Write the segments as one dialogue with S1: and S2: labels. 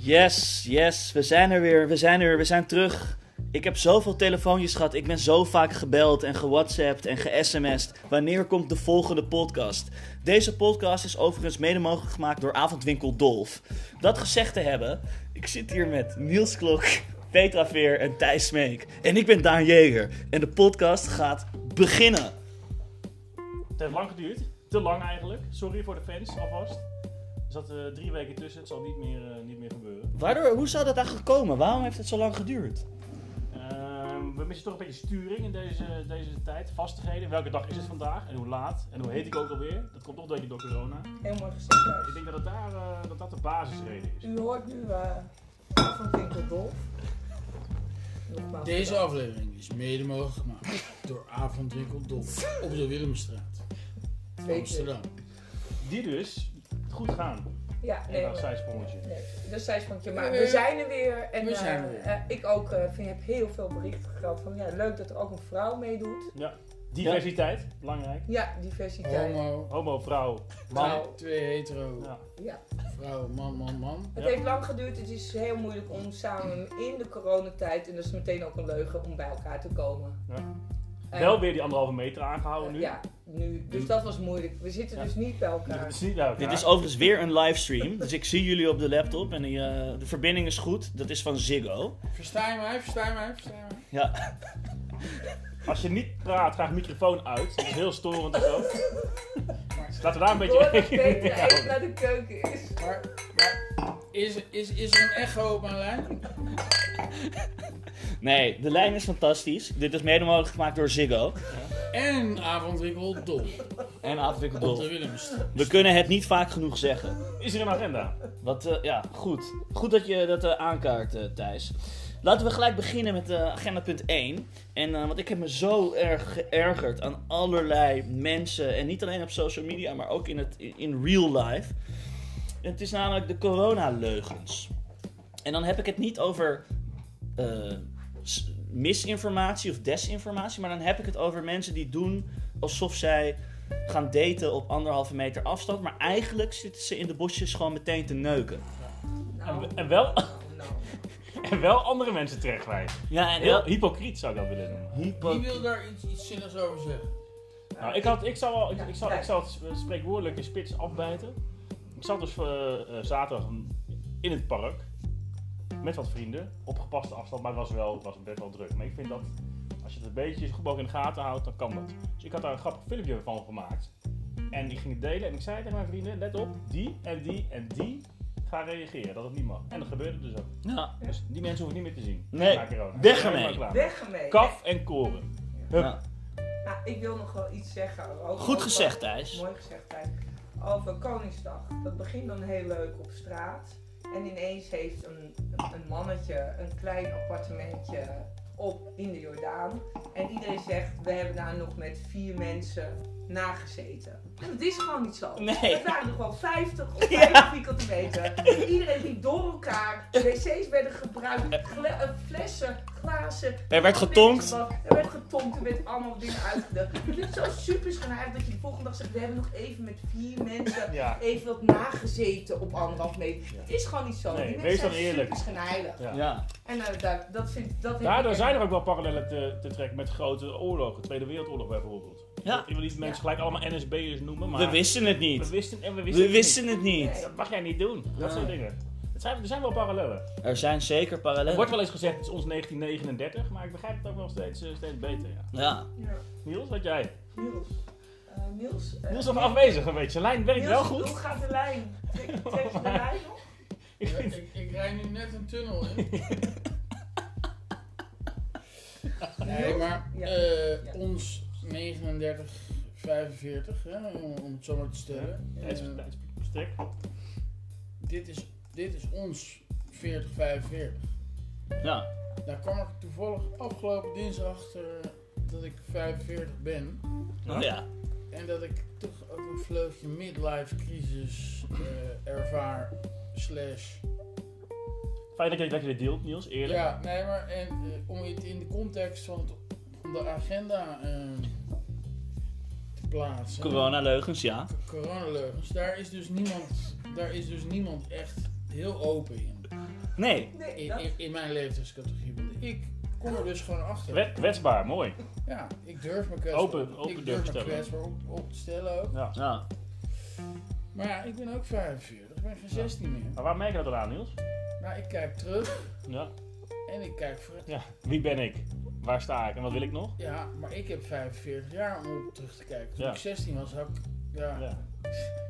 S1: Yes, yes, we zijn er weer, we zijn er weer, we zijn terug. Ik heb zoveel telefoontjes gehad, ik ben zo vaak gebeld en gewhatsappt en ge-sms'd. Wanneer komt de volgende podcast? Deze podcast is overigens mede mogelijk gemaakt door Avondwinkel Dolf. Dat gezegd te hebben, ik zit hier met Niels Klok, Petra Veer en Thijs Smeek. En ik ben Daan Jeger en de podcast gaat beginnen.
S2: Het heeft lang geduurd. Te lang eigenlijk. Sorry voor de fans alvast. Er zat eh, drie weken tussen. Het zal niet meer, eh, niet meer gebeuren.
S1: Waardoor, hoe zou dat eigenlijk komen? Waarom heeft het zo lang geduurd?
S2: Ehm, we missen toch een beetje sturing in deze, deze tijd. Vastigheden. Welke dag is het vandaag? En hoe laat? En hoe heet ik ook alweer? Dat komt toch denk ik door corona.
S3: Heel mooi gezegd,
S2: Ik
S3: Thijs.
S2: denk dat het daar, eh, dat, dat de basisreden is.
S3: U hoort nu eh van Winkel Dolf. Nogmaals
S4: Deze
S3: bedankt.
S4: aflevering is mede mogelijk gemaakt door Avondwinkel Dolf op de Willemstraat, Amsterdam.
S2: Die dus goed gaan.
S3: Ja,
S2: En
S3: nee,
S2: dan
S3: maar,
S2: zijsprongetje.
S3: nee. Dus Thijs van je, maar
S4: Nee.
S3: we zijn er weer. En
S4: We
S3: eh,
S4: zijn er weer.
S3: eh, ik ook eh, vind, heb heel veel berichten gehad van ja, leuk dat er ook een vrouw meedoet.
S2: Diversiteit. Belangrijk.
S3: Ja, diversiteit.
S4: Homo,
S2: Homo, vrouw, man.
S4: twee, twee hetero,
S2: Ja.
S3: Ja.
S4: vrouw, man, man, man.
S3: Het
S2: Ja.
S3: heeft lang geduurd. Het is heel moeilijk om samen in de coronatijd, en dat is meteen ook een leugen, om bij elkaar te komen.
S2: Ja.
S3: En, eh,
S2: Wel weer die anderhalve meter aangehouden nu.
S3: Ja, nu. Dus dat was moeilijk. We zitten
S2: Ja.
S3: dus niet bij elkaar.
S2: Dat is niet uit
S1: Dit is overigens weer een livestream. Dus ik zie jullie op de laptop en die, eh, de verbinding is goed. Dat is van Ziggo.
S4: Versta je mij, versta je mij, versta je mij?
S1: Ja,
S2: Als je niet praat, graag microfoon uit. Dat is heel storend en zo. Laten we daar een
S3: Ik
S2: beetje
S3: hoor dat
S2: rekening mee
S3: Peter
S2: houden.
S3: even naar de keuken is.
S4: Maar, maar is, is, is er een echo op mijn lijn?
S1: nee, de lijn is fantastisch. Dit is mede mogelijk gemaakt door Ziggo
S4: En Avondwinkel Dolf
S1: en
S4: op de
S1: Afwikkeldol.
S4: Willemstraat.
S1: We kunnen het niet vaak genoeg zeggen.
S2: Is er een agenda?
S1: Wat, eh, ja, goed. Goed dat je dat eh, aankaart, eh, Thijs. Laten we gelijk beginnen met eh, agenda punt 1. En, eh, want ik heb me zo erg geërgerd aan allerlei mensen. En niet alleen op social media, maar ook in, het, in, in real life. En het is namelijk de coronaleugens. En dan heb ik het niet over eh, s- misinformatie of desinformatie. Maar dan heb ik het over mensen die doen alsof zij gaan daten op anderhalve meter afstand. Maar eigenlijk zitten ze in de bosjes gewoon meteen te neuken.
S3: Nou,
S2: En, en, wel,
S3: nou.
S2: en wel andere mensen terechtwijzen.
S1: Ja, en
S2: Heel hypocriet zou ik dat willen noemen.
S4: Wie wil daar iets, iets zinnigs over zeggen?
S2: Nou, ik, had, ik, zou wel, ik, ik, zou, ik zou het spreekwoordelijke spits afbijten. Ik zat dus eh, eh, zaterdag in het park. Met wat vrienden. Op gepaste afstand, maar het was, wel, het was best wel druk. Maar ik vind dat als je het een beetje zo goed mogelijk in de gaten houdt, dan kan dat. Dus ik had daar een grappig filmpje van gemaakt. En ik ging het delen en ik zei tegen mijn vrienden: let op, die en die en die gaan reageren. Dat het niet mag. En dat gebeurde dus ook.
S1: Ja.
S2: Dus die mensen hoef ik niet meer te zien.
S1: Nee,
S2: Na corona.
S1: weg
S2: Helemaal
S1: ermee.
S2: klaar.
S3: Weg ermee.
S2: Kaf en koren. Hup.
S1: Ja.
S3: Nou, ik wil nog wel iets zeggen. Ook
S1: Goed
S3: over-
S1: gezegd, Thijs.
S3: Mooi gezegd, Thijs. Over Koningsdag. Dat begint dan heel leuk op straat. En ineens heeft een, een mannetje een klein appartementje op in de Jordaan. En iedereen zegt, we hebben daar nog met vier mensen nagezeten. En dat is gewoon niet zo.
S1: Nee.
S3: Het waren nog wel 50 of 50 vierkante meter. Iedereen liep door elkaar. Wc's werden gebruikt. Gle- eh, flessen, glazen.
S1: Er werd getonkt.
S3: Er werd getonkt, er werd allemaal dingen uitgedacht. Het is zo super schijnheilig dat je de volgende dag zegt: We hebben nog even met vier mensen
S2: Ja.
S3: even wat nagezeten op anderhalf meter.
S2: Ja.
S3: Het is gewoon niet zo.
S2: Nee,
S3: Die mensen
S2: wees dan
S3: zijn
S2: eerlijk.
S3: Super schijnheilig.
S2: Ja.
S1: Ja.
S3: En eh, dat, dat vind dat heb
S2: Daardoor
S3: ik-
S2: zijn er ook wel parallellen te, te trekken met grote oorlogen. Tweede Wereldoorlog bijvoorbeeld.
S1: Ja.
S2: Ik wil niet mensen gelijk allemaal NSB'ers noemen, maar
S1: We wisten het
S2: we
S1: niet.
S2: wisten en we wisten,
S1: We
S2: het
S1: wisten het
S2: niet.
S1: niet.
S2: Dat mag jij niet doen. Dat
S1: Ja.
S2: soort dingen. Het zijn, er zijn wel parallellen.
S1: Er zijn zeker
S2: Er wordt
S1: parallellen.
S2: wel eens gezegd, het is ons 1939, maar ik begrijp het ook wel steeds, eh, steeds beter. Ja.
S1: Ja.
S3: Ja.
S2: Niels, wat jij?
S3: Niels. Eh, Niels. eh,
S2: Niels is nog afwezig een beetje. Zijn lijn werkt
S3: Niels,
S2: wel
S3: Hoe
S2: goed.
S3: gaat de lijn? Trek, trek je de lijn op?
S2: Ik
S4: Ja,
S2: vind-
S4: ik, ik rij nu net een tunnel in. Nee, maar
S3: Ja.
S4: eh,
S3: Ja.
S4: ons 39, 45, hè, om- om het zo maar te stellen.
S2: Ja, het is-
S4: Eh,
S2: het is sterk.
S4: dit, is, dit is ons 40, 45.
S1: Ja.
S4: Daar kwam ik toevallig afgelopen dinsdag achter eh, dat ik 45 ben.
S1: Oh, ja.
S4: En dat ik toch ook een vleugje midlife crisis eh, ervaar. Slash.
S2: Fijn dat je, dat je dit deelt, Niels, eerlijk.
S4: Ja, nee, maar en, eh, om het in de context van, het, van de agenda eh, te plaatsen.
S1: Corona-leugens, ja.
S4: Coronaleugens, daar is dus niemand, daar is dus niemand echt heel open in.
S1: Nee.
S3: Nee,
S4: In,
S3: dat-
S4: in, in mijn leeftijdscategorie. Want ik kom er dus gewoon achter.
S2: Kwet- Kwetsbaar, mooi.
S4: Ja, ik durf me kwetsbaar,
S2: Open- open durven
S4: ik durf me
S2: stellen.
S4: kwetsbaar op, op te stellen ook.
S2: Ja.
S1: Ja.
S4: Maar ja, ik ben ook 45, ik ben geen 16 meer.
S2: Maar waar merk je dat dan aan, Niels?
S4: Maar ik kijk terug
S2: Ja.
S4: en ik kijk vooruit.
S2: ja. Wie ben ik? Waar sta ik? En wat wil ik nog?
S4: Ja, maar ik heb 45 jaar om op terug te kijken. Toen
S2: Ja.
S4: ik 16 was, had ik ja,
S2: Ja.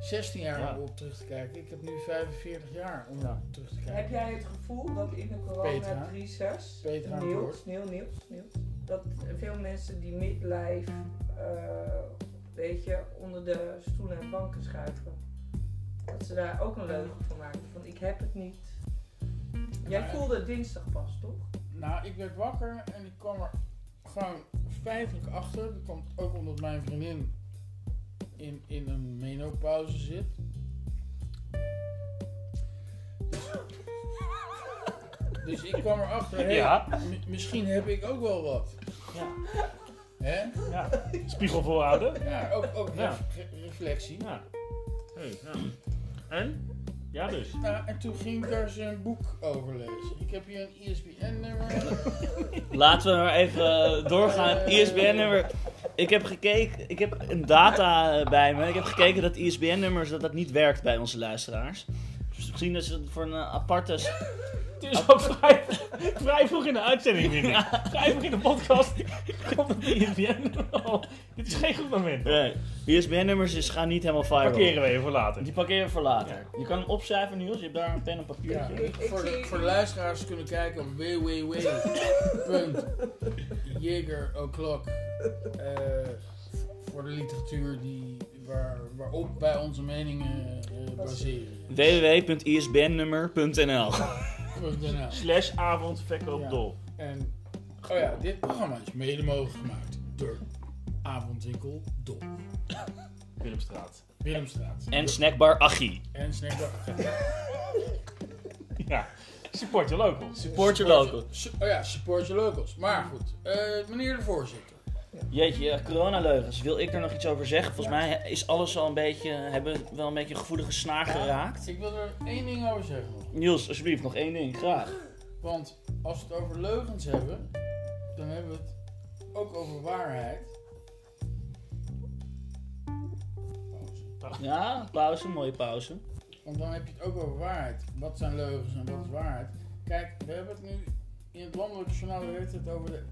S4: 16 jaar
S2: Ja.
S4: om op terug te kijken. Ik heb nu 45 jaar om
S2: Ja.
S4: op terug te kijken.
S3: Heb jij het gevoel dat in de
S4: Petra.
S3: coronacrisis,
S4: Petra aan het
S3: Niels,
S4: woord.
S3: Niels, Niels, Niels, dat veel mensen die midlife, eh, weet je, onder de stoelen en banken schuiven, dat ze daar ook een leugen van maken? Van ik heb het niet. Jij
S4: Maar-
S3: voelde het dinsdag pas, toch?
S4: Nou, ik werd wakker en ik kwam er gewoon feitelijk achter. Dat komt ook omdat mijn vriendin in, in een menopauze zit. Dus, dus ik kwam erachter, hey,
S2: Ja.
S4: mi- misschien heb ik ook wel wat.
S2: Ja.
S4: Hè?
S2: ja. Spiegel voorhouden.
S4: Ja, ook, ook
S2: Ja.
S4: ref- re- reflectie.
S2: Ja. Hey, ja. En? Ja dus.
S4: Nou, en toen ging ik daar eens een boek over lezen. Ik heb hier een E ISBN-nummer.
S1: Laten we maar even eh, doorgaan. ISBN-nummer. Ik heb gekeken, ik heb een data eh, bij me. Ik heb gekeken dat ISBN-nummers dat dat niet werkt bij onze luisteraars. Dus misschien dat ze het voor een eh, aparte. s-
S2: Het is ook vrij, vrij vroeg in de uitzending, vind ik. Vrij vroeg in de podcast. Komt het ISBN al? Dit is geen goed moment.
S1: Nee, ISBN-nummers is, gaan niet helemaal viral.
S2: Parkeren we even voor later.
S1: Die parkeren we voor later. Je kan hem opschrijven, Niels. Je hebt daar een pen en papiertje.
S3: Ik- ik
S4: voor, de,
S3: zie-
S4: voor de luisteraars kunnen kijken op www.jageroklok. Eh, voor de literatuur die, waar, waarop wij onze meningen eh, baseren.
S1: www.isbnnummer.nl
S4: .nl.
S2: Slash avondverkoop
S4: Ja.
S2: dol.
S4: En, oh ja, dit programma is mede mogelijk gemaakt door Avondwinkel Dol.
S2: Willemstraat.
S4: Willemstraat.
S1: En snackbar Achie.
S4: En Snackbar.
S2: Ja. Support your locals.
S1: Support your local.
S4: Su- Oh ja, support your locals. Maar goed, eh, meneer de voorzitter.
S1: Jeetje, eh, coronaleugens. Wil ik er nog iets over zeggen? Volgens mij is alles al een beetje... Hebben we wel een beetje een gevoelige snaar geraakt.
S4: Ik wil er één ding over zeggen. nog.
S1: Niels, alsjeblieft, nog één ding. Graag.
S4: Want als we het over leugens hebben, dan hebben we het ook over waarheid. Pauze.
S1: Ja, pauze. Mooie pauze.
S4: Want dan heb je het ook over waarheid. Wat zijn leugens en wat is waarheid? Kijk, we hebben het nu in het landelijke journaal we hebben het over de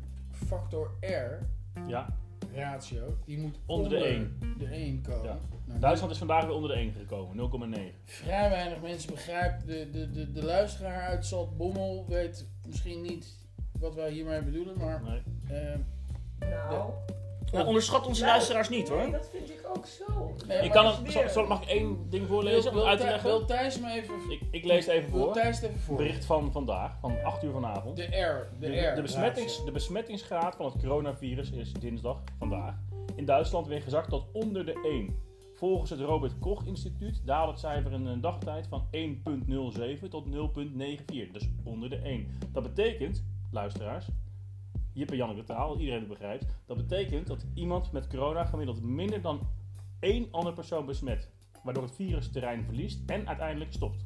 S4: factor R
S2: Ja.
S4: ratio. Die moet
S2: Onder de
S4: de 1 komen.
S2: Ja.
S4: Nou,
S2: Duitsland is vandaag weer onder de 1 gekomen. 0,9.
S4: Vrij weinig mensen begrijpen. De, de, de, de luisteraar uit Zaltbommel weet misschien niet wat wij hiermee bedoelen, maar
S2: Nee.
S4: eh,
S3: Nou,
S1: Nou, onderschat onze
S3: Nou,
S1: luisteraars niet,
S3: nee,
S1: hoor.
S3: dat vind ik ook zo.
S4: Nee,
S2: Ik
S4: maar
S2: kan
S3: dat
S2: het,
S3: is
S2: zal,
S3: weer-
S2: zal- mag ik één ding voorlezen om
S4: wil,
S2: het uit te
S4: Thij-
S2: leggen?
S4: wil Thijs me even...
S2: Ik, ik lees het even
S4: Wil
S2: voor.
S4: Thijs het even voor?
S2: Bericht van vandaag, van 8 uur vanavond.
S4: De R. De,
S2: De,
S4: R.
S2: de, besmettings,
S4: ratio.
S2: de besmettingsgraad van het coronavirus is dinsdag, vandaag, in Duitsland weer gezakt tot onder de 1. Volgens het Robert Koch Instituut daalde het cijfer in een dagtijd van 1.07 tot 0.94, dus onder de 1. Dat betekent, luisteraars, Jip en Janneke taal, iedereen het begrijpt, dat betekent dat iemand met corona gemiddeld minder dan één andere persoon besmet, waardoor het virus terrein verliest en uiteindelijk stopt.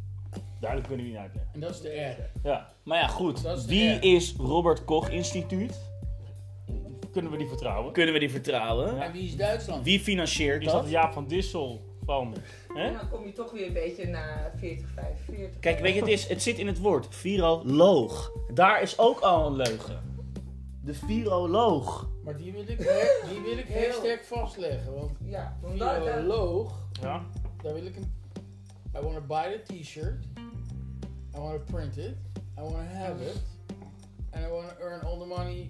S2: Duidelijk kunnen we niet uitleggen.
S4: En dat is de R.
S2: Ja.
S1: Maar ja,
S4: Dat
S1: goed.
S4: is
S1: Wie
S4: erg.
S1: is Robert Koch Instituut?
S2: Kunnen we die vertrouwen?
S1: Kunnen we die vertrouwen?
S4: En wie is Duitsland?
S1: Wie financiert
S2: Is dat
S1: dat?
S2: Jaap van Dissel van... Hè?
S3: En dan kom je toch weer een beetje naar 40, 45.
S1: Kijk, weet je, het, is, het zit in het woord. Viroloog. Daar is ook al een leugen. De viroloog.
S4: Maar die wil ik, he- die wil ik heel sterk vastleggen. Want
S3: Ja, want daar- daar-
S4: viroloog,
S2: Ja.
S4: daar wil ik een... I want to buy the t-shirt. I want to print it. I want to have it. And I want to earn all the money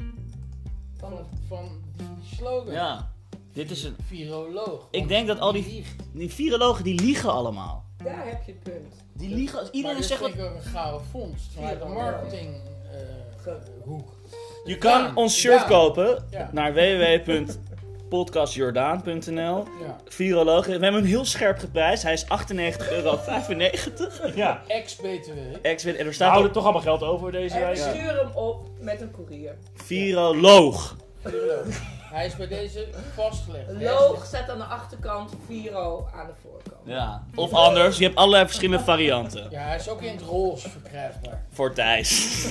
S4: van, van die slogan.
S1: Ja. Dit is een...
S4: Viroloog.
S1: Ik
S4: Want
S1: denk dat al die-
S4: liegt.
S1: Die virologen, die liegen allemaal.
S3: daar heb je het punt.
S1: Die liegen... als Iedereen
S4: maar
S1: zegt
S4: dat
S1: wat...
S4: vind ik ook een gouden vondst vanuit de eh,
S3: Viroloog.
S4: marketinghoek.
S1: Je kan ons shirt kopen
S4: Ja.
S1: naar www.podcastjordaan.nl
S4: ja.
S1: Viroloog. We hebben hem heel scherp geprijsd. Hij is 98,95 euro.
S2: ja.
S4: Ex-BTW.
S1: Ex-wit. En er
S2: We
S1: staat
S4: Nou,
S2: houden
S1: ook
S2: toch allemaal
S3: Dus
S2: geld over deze
S3: En
S2: week.
S3: stuur hem op met een koerier.
S1: viroloog.
S4: Viroloog. Hij is bij deze vastgelegd. Hij is-
S3: Loog staat aan de achterkant, Viro aan de voorkant.
S1: Ja. Of anders, je hebt allerlei verschillende varianten.
S4: Ja, hij is ook in het roze verkrijgbaar.
S1: Voor Thijs.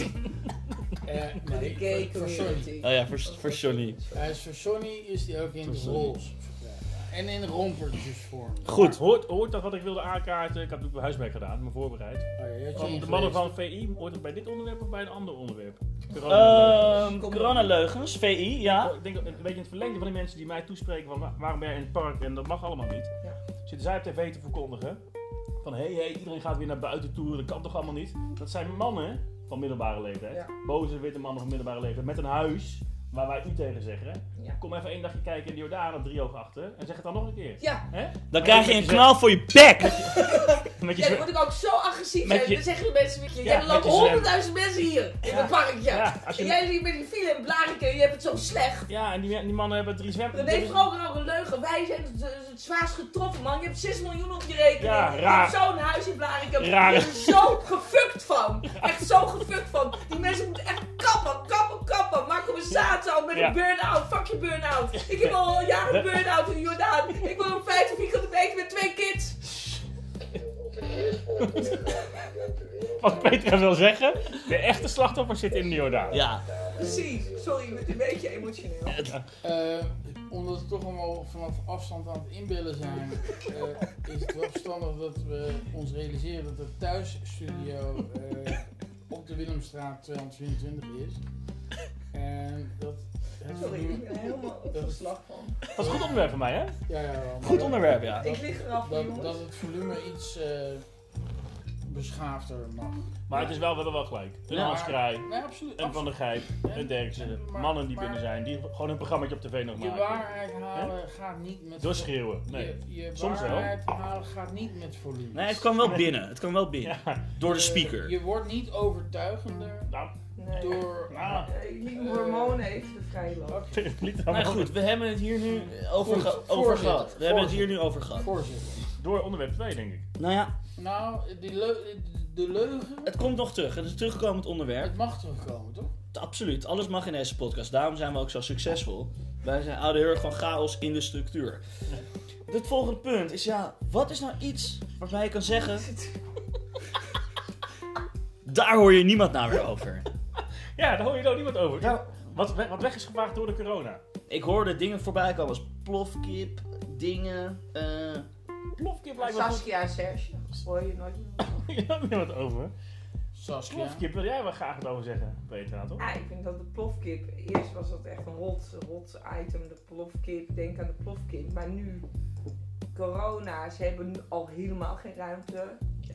S4: Eh,
S3: Voor de
S4: nee,
S3: gay
S4: voor, voor Sony.
S1: Oh ja, voor, voor Johnny.
S4: Hij is voor Sony is die ook in het
S2: Sorry.
S4: roze verkrijgbaar. En in rompertjesvorm. Oh,
S1: Goed.
S2: Hoort, hoort dat wat ik wilde aankaarten? Ik had natuurlijk mijn huiswerk gedaan, me voorbereid.
S4: Oh, je had je
S2: Want de
S4: ingelezen.
S2: mannen van VI, hoort het bij dit onderwerp of bij een ander onderwerp? Corona.
S1: Ehm coronaleugens, VI,
S3: Ah.
S1: ja.
S2: Ik denk dat- een beetje in het verlengde van die mensen die mij toespreken van "Wa- waarom ben je in het park en dat mag allemaal niet.
S3: Ja.
S2: Zitten zij op tv te verkondigen van hé hey, hey, iedereen gaat weer naar buiten toe, dat kan toch allemaal niet. Dat zijn mannen van middelbare leeftijd,
S3: Ja.
S2: boze witte mannen van middelbare leeftijd met een huis waar wij u tegen zeggen.
S3: Ja.
S2: Kom even één dagje kijken in de Jordaan drie ogen achter en zeg het dan nog een keer.
S3: Ja,
S2: Hè?
S1: Dan krijg je een knal voor je bek.
S2: Met je
S3: ja, dan
S2: zwe-
S3: word ik ook zo agressief.
S2: Met
S3: hè.
S2: je-
S3: Dan zeggen de mensen, weet je,
S2: Ja,
S3: ja, er lopen
S2: met je zwem-
S3: honderdduizend mensen hier in
S2: Ja.
S3: het parkje.
S2: Ja, als je-
S3: En jij zit met die file en blariken en je hebt het zo slecht.
S2: ja, en die, die mannen hebben drie zwem...
S3: Dan heeft Roger ook een leugen. Wij zijn het, het- het zwaarst getroffen, man. Je hebt 6 miljoen op je rekening.
S2: Ja,
S3: Je
S2: raar.
S3: hebt zo'n huis in Blarikum.
S2: Raar.
S3: Je bent er zo gefukt van. Echt zo gefukt van. Die mensen moeten echt kappen, kappen, kappen. Marco Bazzato al met
S2: Ja.
S3: een burn-out. Fuck je burn-out. Ik heb al jaren een burn-out in de Jordaan. Ik woon op 50 vierkante meter met twee kids.
S2: Wat Petra wil zeggen, de echte slachtoffer zit in de Jordaan.
S1: Ja.
S3: Precies. Sorry, ik ben een beetje emotioneel.
S4: Eh, omdat we toch allemaal vanaf afstand aan het inbellen zijn, eh, is het wel verstandig dat we ons realiseren dat de thuisstudio eh, op de Willemstraat 224 is. En dat het
S3: Sorry,
S4: vernieuw-
S3: ik ben er helemaal op de slag van.
S2: Dat is een goed onderwerp voor mij, hè?
S4: Ja, ja, wel, maar
S1: Goed
S4: dat-
S1: onderwerp, ja.
S4: dat-
S3: Ik lig eraf,
S4: Dat,
S3: jongens.
S4: dat het volume iets eh, beschaafder mag.
S2: Maar het is wel, we hebben wel gelijk. Een
S1: Ja.
S2: Hans Kraaij,
S4: Nee, absoluut.
S2: en Van
S4: absoluut.
S2: der Gijp, en dergelijke
S4: Maar-
S2: mannen die
S4: maar-
S2: binnen zijn, die gewoon een programmaatje op tv nog
S4: Je
S2: maken.
S4: waarheid halen gaat niet met
S2: Doorschreeuwen, nee.
S4: Je, je
S2: Soms wel.
S4: waarheid halen gaat niet met volume.
S1: Nee, het kwam wel binnen. Het kwam wel binnen.
S2: Ja,
S1: Door de
S4: Eh,
S1: speaker.
S4: je wordt niet overtuigender
S2: nou,
S3: Nee.
S4: door.
S2: nou,
S3: Eh, Ik liet mijn hormonen even de vrij lopen.
S4: Oké,
S2: niet
S1: Nou
S2: allemaal
S1: goed, we hebben het hier nu over,
S4: Goed,
S1: ge- over
S4: voorzitter,
S1: gehad. We hebben het hier nu over gehad.
S4: Voorzitter.
S2: Door onderwerp 2, denk ik.
S1: Nou ja,
S4: Nou, die leu- de leugen,
S1: het komt nog terug. Het is een terugkomend onderwerp.
S4: het mag terugkomen, toch?
S1: Absoluut, alles mag in deze podcast. Daarom zijn we ook zo succesvol. Wij zijn oude heel erg van chaos in de structuur. Het volgende punt is ja, wat is nou iets waarbij je kan zeggen... Daar hoor je niemand nou weer over.
S2: Ja, daar hoor je nou niemand over.
S1: Ja.
S2: Wat, we- wat weg is gevaagd door de corona.
S1: Ik hoorde dingen voorbij komen als plofkip, dingen... eh,
S2: Plofkip lijkt me goed.
S3: Saskia en Serge, hoor je nooit meer.
S2: Je hebt niemand over.
S4: Saskia.
S2: Plofkip wil jij wel graag het over zeggen, Petra, toch?
S3: Ja, Ah, ik vind dat de plofkip, eerst was dat echt een hot, hot item, de plofkip, denk aan de plofkip. Maar nu, corona, ze hebben al helemaal geen ruimte.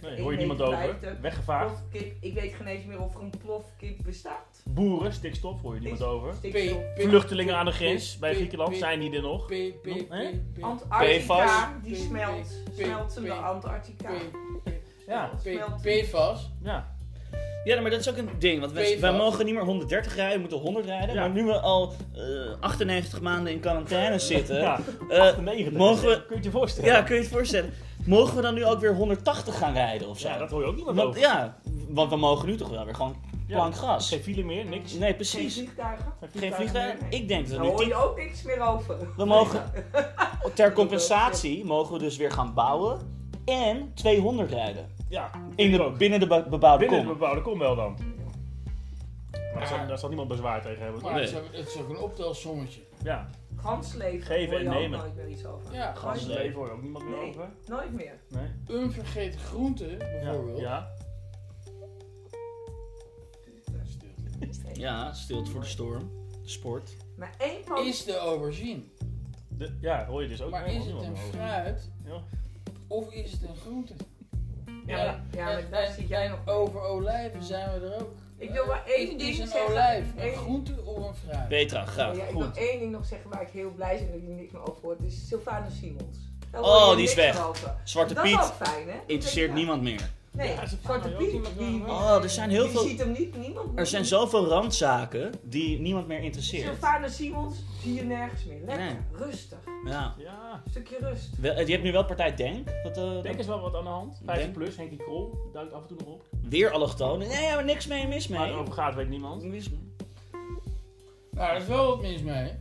S2: Nee,
S3: Eén
S2: hoor je niemand
S3: meter
S2: over.
S3: vijftig.
S4: Ah.
S2: Weggevaagd.
S3: Plofkip, ik weet geen eens meer of er een plofkip bestaat.
S2: Boeren, stikstof, hoor je niemand over.
S3: Stikstof.
S4: P- P-
S2: Vluchtelingen aan de
S4: P-
S2: grens
S4: P-
S2: bij
S4: P-
S2: Griekenland,
S4: P-
S2: zijn die er nog?
S4: P- P- P-
S2: Hè?
S4: P-
S3: Antarctica,
S1: PFAS.
S3: die
S4: P-
S3: smelt.
S4: P- P-
S3: Smeltende
S4: P-
S3: Antarctica.
S2: Ja,
S4: P-
S3: Smelt.
S4: P- PFAS.
S2: ja.
S1: Ja, maar dat is ook een ding. Want wij,
S4: PFAS.
S1: wij mogen niet meer 130 rijden, we moeten 100 rijden.
S2: Ja.
S1: Maar nu we al eh, 98 maanden in quarantaine zitten.
S2: ja.
S1: Ja.
S2: 98.
S1: Eh, mogen we-
S2: Kun je het je voorstellen?
S1: ja, kun je het voorstellen. Mogen we dan nu ook weer 180 gaan rijden of zo?
S2: Ja, dat hoor je ook niemand
S1: want,
S2: over.
S1: ja, want we mogen nu toch wel weer gewoon
S2: Ja.
S1: plank gas.
S2: Geen file meer, niks.
S1: Nee,
S3: Geen
S1: precies.
S3: vliegtuigen.
S1: Geen vliegtuigen. Ik denk dat
S3: Daar
S1: we nu
S3: hoor je
S1: tien-
S3: ook niks meer over.
S1: we mogen ter compensatie mogen we dus weer gaan bouwen en 200 rijden
S2: Ja,
S1: in
S2: ik
S1: de,
S2: ook.
S1: binnen de be- bebouwde
S2: binnen
S1: Nou,
S2: de
S1: kom.
S2: bebouwde kom wel dan. Maar daar zal- daar zal niemand bezwaar tegen hebben. toch?
S4: Maar het, is ook, het is ook een optelsommetje.
S2: Ja,
S3: Gansleven
S2: Geven
S3: hoor
S2: en
S3: je ook
S2: nemen.
S3: nooit meer iets over.
S4: Ja,
S3: Gans-
S2: gans leven hoor je ook niemand meer
S3: Nee.
S2: over.
S3: Nooit meer.
S2: Nee.
S4: Unvergeten groenten,
S2: Ja.
S4: bijvoorbeeld.
S2: ja.
S1: Ja, stilt voor de storm. Sport.
S3: Maar één pan
S4: Is de aubergine.
S2: De- ja, hoor je dus ook
S4: Maar
S2: helemaal
S4: is het een
S2: niemand meer
S4: fruit
S2: Ja.
S4: of is het een groente?
S2: Ja, ja.
S4: En-
S3: Ja, maar daar
S4: en-
S3: zit jij
S4: en
S3: nog mee.
S4: over olijven zijn we er ook.
S3: Ik wil maar
S4: Eh,
S3: één
S4: is-
S3: ding
S4: Is een
S3: zeggen.
S4: olijf een
S3: Eén-
S4: groente of een fruit?
S1: Petra, graag.
S3: ja, ik wil
S1: Goed.
S3: één ding nog zeggen waar ik heel blij ben dat ik er niks meer over hoor. Het is Sylvana Simons. Daar
S1: Oh,
S3: hoor je
S1: die
S3: niks
S1: is weg.
S3: meer over.
S1: Zwarte
S3: Dat is ook
S1: Piet
S3: fijn, hè?
S1: interesseert
S3: Ja.
S1: niemand meer.
S3: Nee,
S2: Ja, Sylvana
S3: Zwarte
S2: ook
S3: Piet,
S2: niemand
S3: die,
S2: meer.
S1: Oh, er zijn heel
S3: die
S1: veel.
S3: ziet hem niet, niemand meer.
S1: Er zijn zoveel randzaken die niemand meer interesseert.
S3: Sylvana Simons zie je nergens meer. Lekker,
S1: Nee.
S3: rustig.
S1: Ja.
S2: Ja,
S3: Stukje rust.
S1: Wel, je hebt nu wel partij Denk. Dat, eh,
S2: denk eens wel wat aan de hand. 50
S1: Denk.
S2: plus, Henkie Krol duikt af en toe nog op.
S1: Weer allochtonen. Nee, ja, maar niks mee, mis
S2: Waar
S1: mee.
S2: het over gaat, weet niemand.
S1: Mis mee.
S4: Nou, er is wel wat mis mee.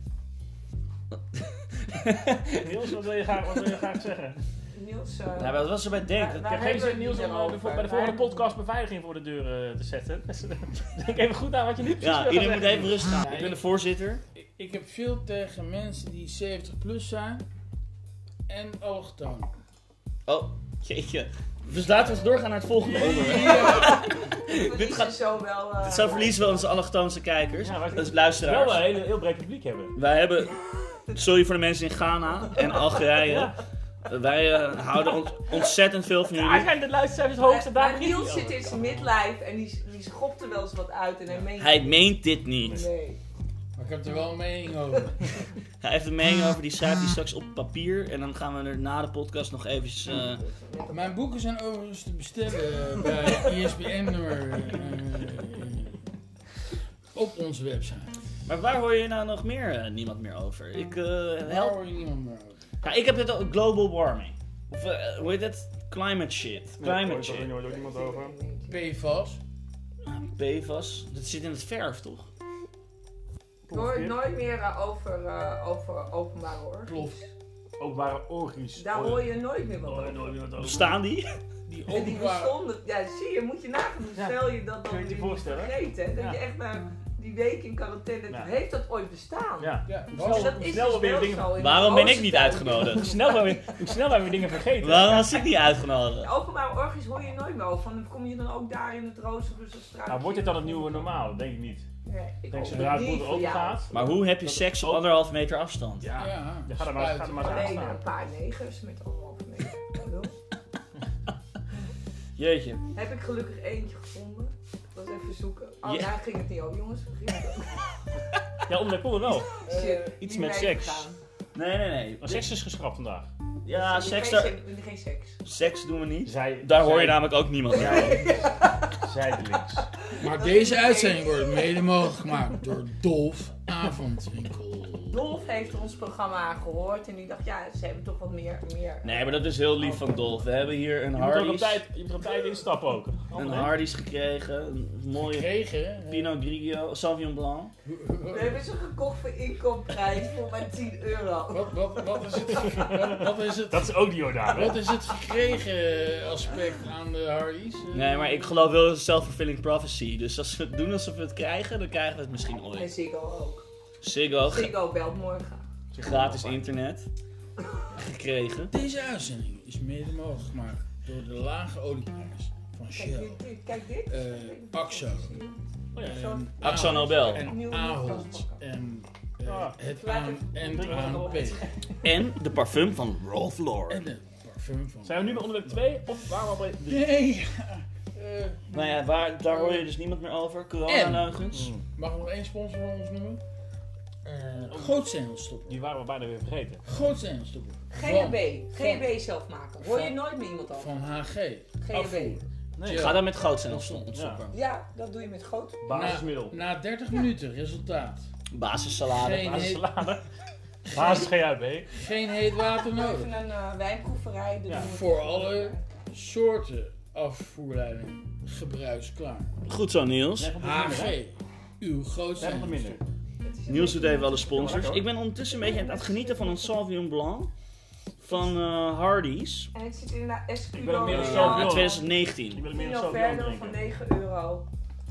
S2: Niels, wat wil je graag, wat wil je graag zeggen?
S3: Niels, eh,
S1: Ja, maar dat was ze bij
S3: waar-
S1: Denk. Dat-
S3: waar
S2: Ik heb geen
S3: hebben we
S2: zin,
S3: het
S2: Niels,
S3: niet
S2: om eh, bij de
S3: over?
S2: bij de volgende
S3: Waar-
S2: podcast beveiliging voor de deur eh, te zetten. Dus, eh, Denk even goed aan wat je nu precies
S1: Ja,
S2: wil
S1: iedereen moet
S2: zeggen.
S1: even rustig aan. Ik ben de voorzitter.
S4: Ik- Ik heb veel tegen mensen die 70 plus zijn en oogtoon.
S1: Oh, jeetje. Dus laten we eens doorgaan naar het volgende onderwerp.
S3: Verliezen
S1: Dit gaat-
S3: zo wel. eh,
S1: Dit zou verliezen we onze allochtoonse kijkers.
S2: Ja, maar-
S1: dus
S2: Wel een
S1: luisteraars.
S2: hele, heel breed publiek hebben.
S1: Wij hebben, sorry voor de mensen in Ghana en Algerije. Wij eh, houden ons ontzettend veel van
S2: Daar
S1: jullie.
S2: zijn de luistercijfers
S3: eh,
S2: hoog, daar
S3: maar
S2: begint hij
S3: Niels
S2: over.
S3: zit in zijn midlife en die, die schopt er wel eens wat uit en hij meent.
S1: Hij meent dit niet.
S3: Nee.
S4: Maar ik heb er wel een mening over.
S1: Hij heeft een mening over, die schrijft hij straks op papier. En dan gaan we er na de podcast nog eventjes... eh,
S4: Mijn boeken zijn overigens te bestellen bij E ISBN-nummer eh, op onze website.
S1: Maar waar hoor je nou nog meer eh, niemand meer over? Ik, eh,
S4: Daar
S1: help.
S4: hoor je niemand meer over.
S2: eh.
S1: Ja, ik heb het ook global warming. Of eh, hoe heet dat? Climate shit. Climate shit.
S2: hoort ook niemand over.
S4: PFAS.
S1: PFAS. Ah, Dat zit in het verf toch?
S2: Oh.
S3: Nooit, nooit meer eh, over, eh, over openbare hoor.
S4: Plof.
S2: Openbare orgies.
S3: Daar hoor je nooit meer wat
S2: Hoor je
S3: over.
S2: nooit meer wat over.
S1: Bestaan die?
S4: Die
S3: En die
S4: openbare...
S3: bestonden, ja zie je, moet je nagaan hoe
S2: Ja.
S3: snel je dat dan
S2: Kun je het je
S3: weer
S2: voorstellen?
S3: vergeten. hè? Dat
S2: Ja.
S3: je echt na die week in quarantaine,
S2: Ja.
S3: heeft dat ooit bestaan?
S2: Ja.
S4: Ja,
S3: Dus
S4: was
S3: dat
S2: Hoe
S3: is
S2: snel
S3: dus
S2: we weer
S3: wel
S2: dingen-
S3: zo in de
S1: Waarom ben ik
S3: Oostertuin.
S1: niet uitgenodigd?
S2: Hoe snel wij weer- hoe snel wij weer dingen vergeten.
S1: Waarom was ik niet
S2: Oh.
S1: uitgenodigd?
S3: Openbare orgies hoor je nooit meer over. Van, kom je dan ook daar in het Rozenrusselstraat?
S2: Nou, wordt het dan het nieuwe normaal? Dat Denk ik niet.
S3: Nee, ik
S2: Ik denk
S3: hoop
S2: zodra het
S3: Oh, niet
S2: boel
S3: voor
S2: open
S3: jou.
S2: gaat.
S1: Maar hoe heb je seks op anderhalf meter afstand?
S2: oh. Ja.
S4: Ja,
S2: Je gaat er maar, ga er maar eens aan
S3: Alleen een
S2: staan.
S3: paar negers met anderhalve meter. Hallo?
S1: Jeetje.
S3: Heb ik gelukkig eentje gevonden. Dat was even zoeken. Oh,
S1: Ja. Eh,
S3: daar ging het niet over. Jongens, vergeet het.
S2: Ja, om de koel wel.
S3: Shit,
S1: iets
S3: niet
S1: met seks.
S3: meegegaan.
S1: Nee, nee, nee.
S2: Maar seks is geschrapt vandaag.
S1: Ja,
S3: Ik
S1: seks, eh.
S3: geen
S1: daar,
S3: seks- ik geen seks.
S1: seks doen we niet.
S2: Zij,
S1: Daar hoor je nou-
S2: zij-
S1: namelijk ook niemand meer.
S2: zij- Zijdelings.
S4: Maar deze uitzending wordt mede mogelijk gemaakt door Dolf Avondwinkel.
S3: Dolf heeft ons programma gehoord en die dacht, ja, ze hebben toch wat meer. meer
S1: Nee, maar dat is heel lief van Dolf. We hebben hier een
S2: Je moet er op
S1: Hardee's,
S2: tijd, je moet er op tijd instappen ook.
S1: een
S2: Andere-
S1: Hardee's gekregen. Een mooie
S4: Kregen. hè?
S1: Pinot Grigio, Sauvignon Blanc.
S3: We hebben ze gekocht voor inkoopprijs voor maar 10 euro.
S4: Wat, wat, wat, is het, wat, wat is het
S2: Dat is ook die Jordaan, hè?
S4: Wat is het gekregen aspect aan de Hardy's? Eh,
S1: Nee, maar ik geloof wel in self-fulfilling prophecy. Dus als we doen alsof we het krijgen, dan krijgen we het misschien
S3: En
S1: ooit.
S3: Ziggo ook.
S1: Ziggo, g-
S3: Ziggo belt morgen.
S1: gratis internet. Gekregen.
S4: Deze uitzending is mede mogelijk gemaakt door de lage olieprijs van
S3: Kijk
S4: Shell,
S3: dit, dit, kijk dit.
S4: Eh, Axo.
S2: Oh ja.
S4: en
S1: Axo
S4: Ahold
S1: Nobel.
S4: en Ahold en eh,
S2: Ah.
S4: het aan en ANP
S1: En de parfum van Rolf
S4: en
S1: Lauren.
S4: het parfum van...
S2: Zijn we nu bij onderwerp 2 of waarom al bij 3?
S4: Nee! Eh,
S1: Nou ja, waar, daar hoor je dus niemand meer over. Corona-leugens.
S4: mag ik nog één sponsor van ons noemen? Eh Gootzenuwstoppen.
S2: Die waren we bijna weer vergeten.
S4: Gootzenuwstoppen.
S3: GHB.
S4: Van-
S3: GHB zelf maken. Hoor je
S4: Van-
S3: nooit meer iemand over.
S4: Van HG.
S3: GHB.
S2: Nee.
S1: Ga dan met goud zijn ontstoppen.
S3: Ja, dat doe je met groot.
S2: Basismiddel.
S4: Na 30 minuten resultaat.
S1: Basissalade.
S4: Geen, heet,
S2: Basissalade. Basis GHB.
S4: geen heet water nodig.
S3: Even een eh, wijnproeverij. dat
S2: Ja,
S3: doen we
S4: voor alle- soorten afvoerleiding gebruiksklaar.
S1: Goed zo, Niels.
S4: HG,
S2: Zeg
S4: uw
S2: nog
S4: grootste.
S2: minder.
S3: Het is een
S1: Niels doet
S3: beetje-
S1: even alle sponsors. Ik ben ondertussen een beetje aan het genieten van een Sauvignon Blanc. Van eh Hardee's.
S3: En het zit inderdaad Escudo.
S2: Ik ben ook meer dan
S3: in,
S2: zelf
S3: eh,
S2: wil.
S1: Uit
S2: Ik
S1: 2019.
S2: wil meer een
S3: Pino
S2: Sauvignon
S3: Verder van
S2: drinken.
S3: 9 euro.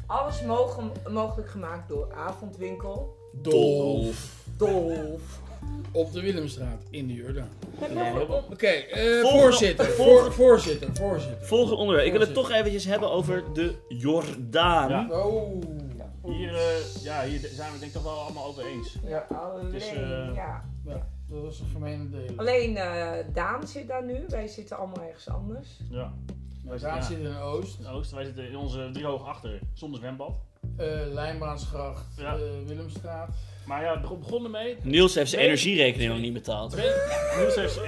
S3: Alles mogen- mogelijk gemaakt door Avondwinkel.
S4: Dolf.
S3: Dolf.
S4: Op de Willemstraat in de Jordaan.
S1: Volgende
S4: Oké, eh,
S1: Volgende-
S4: voorzitter, voor, voorzitter, voorzitter.
S1: onderwerp. Ik wil het toch eventjes hebben over de Jordaan.
S2: Ja.
S4: Oh.
S2: Hier, eh, ja, hier zijn we het denk ik toch wel allemaal over eens.
S3: Ja,
S4: Ja,
S3: alleen.
S2: is, eh,
S3: ja.
S4: dat was een gemene deel.
S3: Alleen eh, Daan zit daar nu. Wij zitten allemaal ergens anders.
S2: Ja.
S4: Daar
S2: Ja.
S4: zit in Oost,
S2: In Oost, wij zitten in onze driehoog achter, zonder zwembad.
S4: eh Lijnbaansgracht,
S2: Ja.
S4: eh, Willemstraat.
S2: Maar ja, we begonnen mee.
S1: Niels heeft zijn
S2: Nee.
S1: energierekening nog niet betaald.
S2: Niels heeft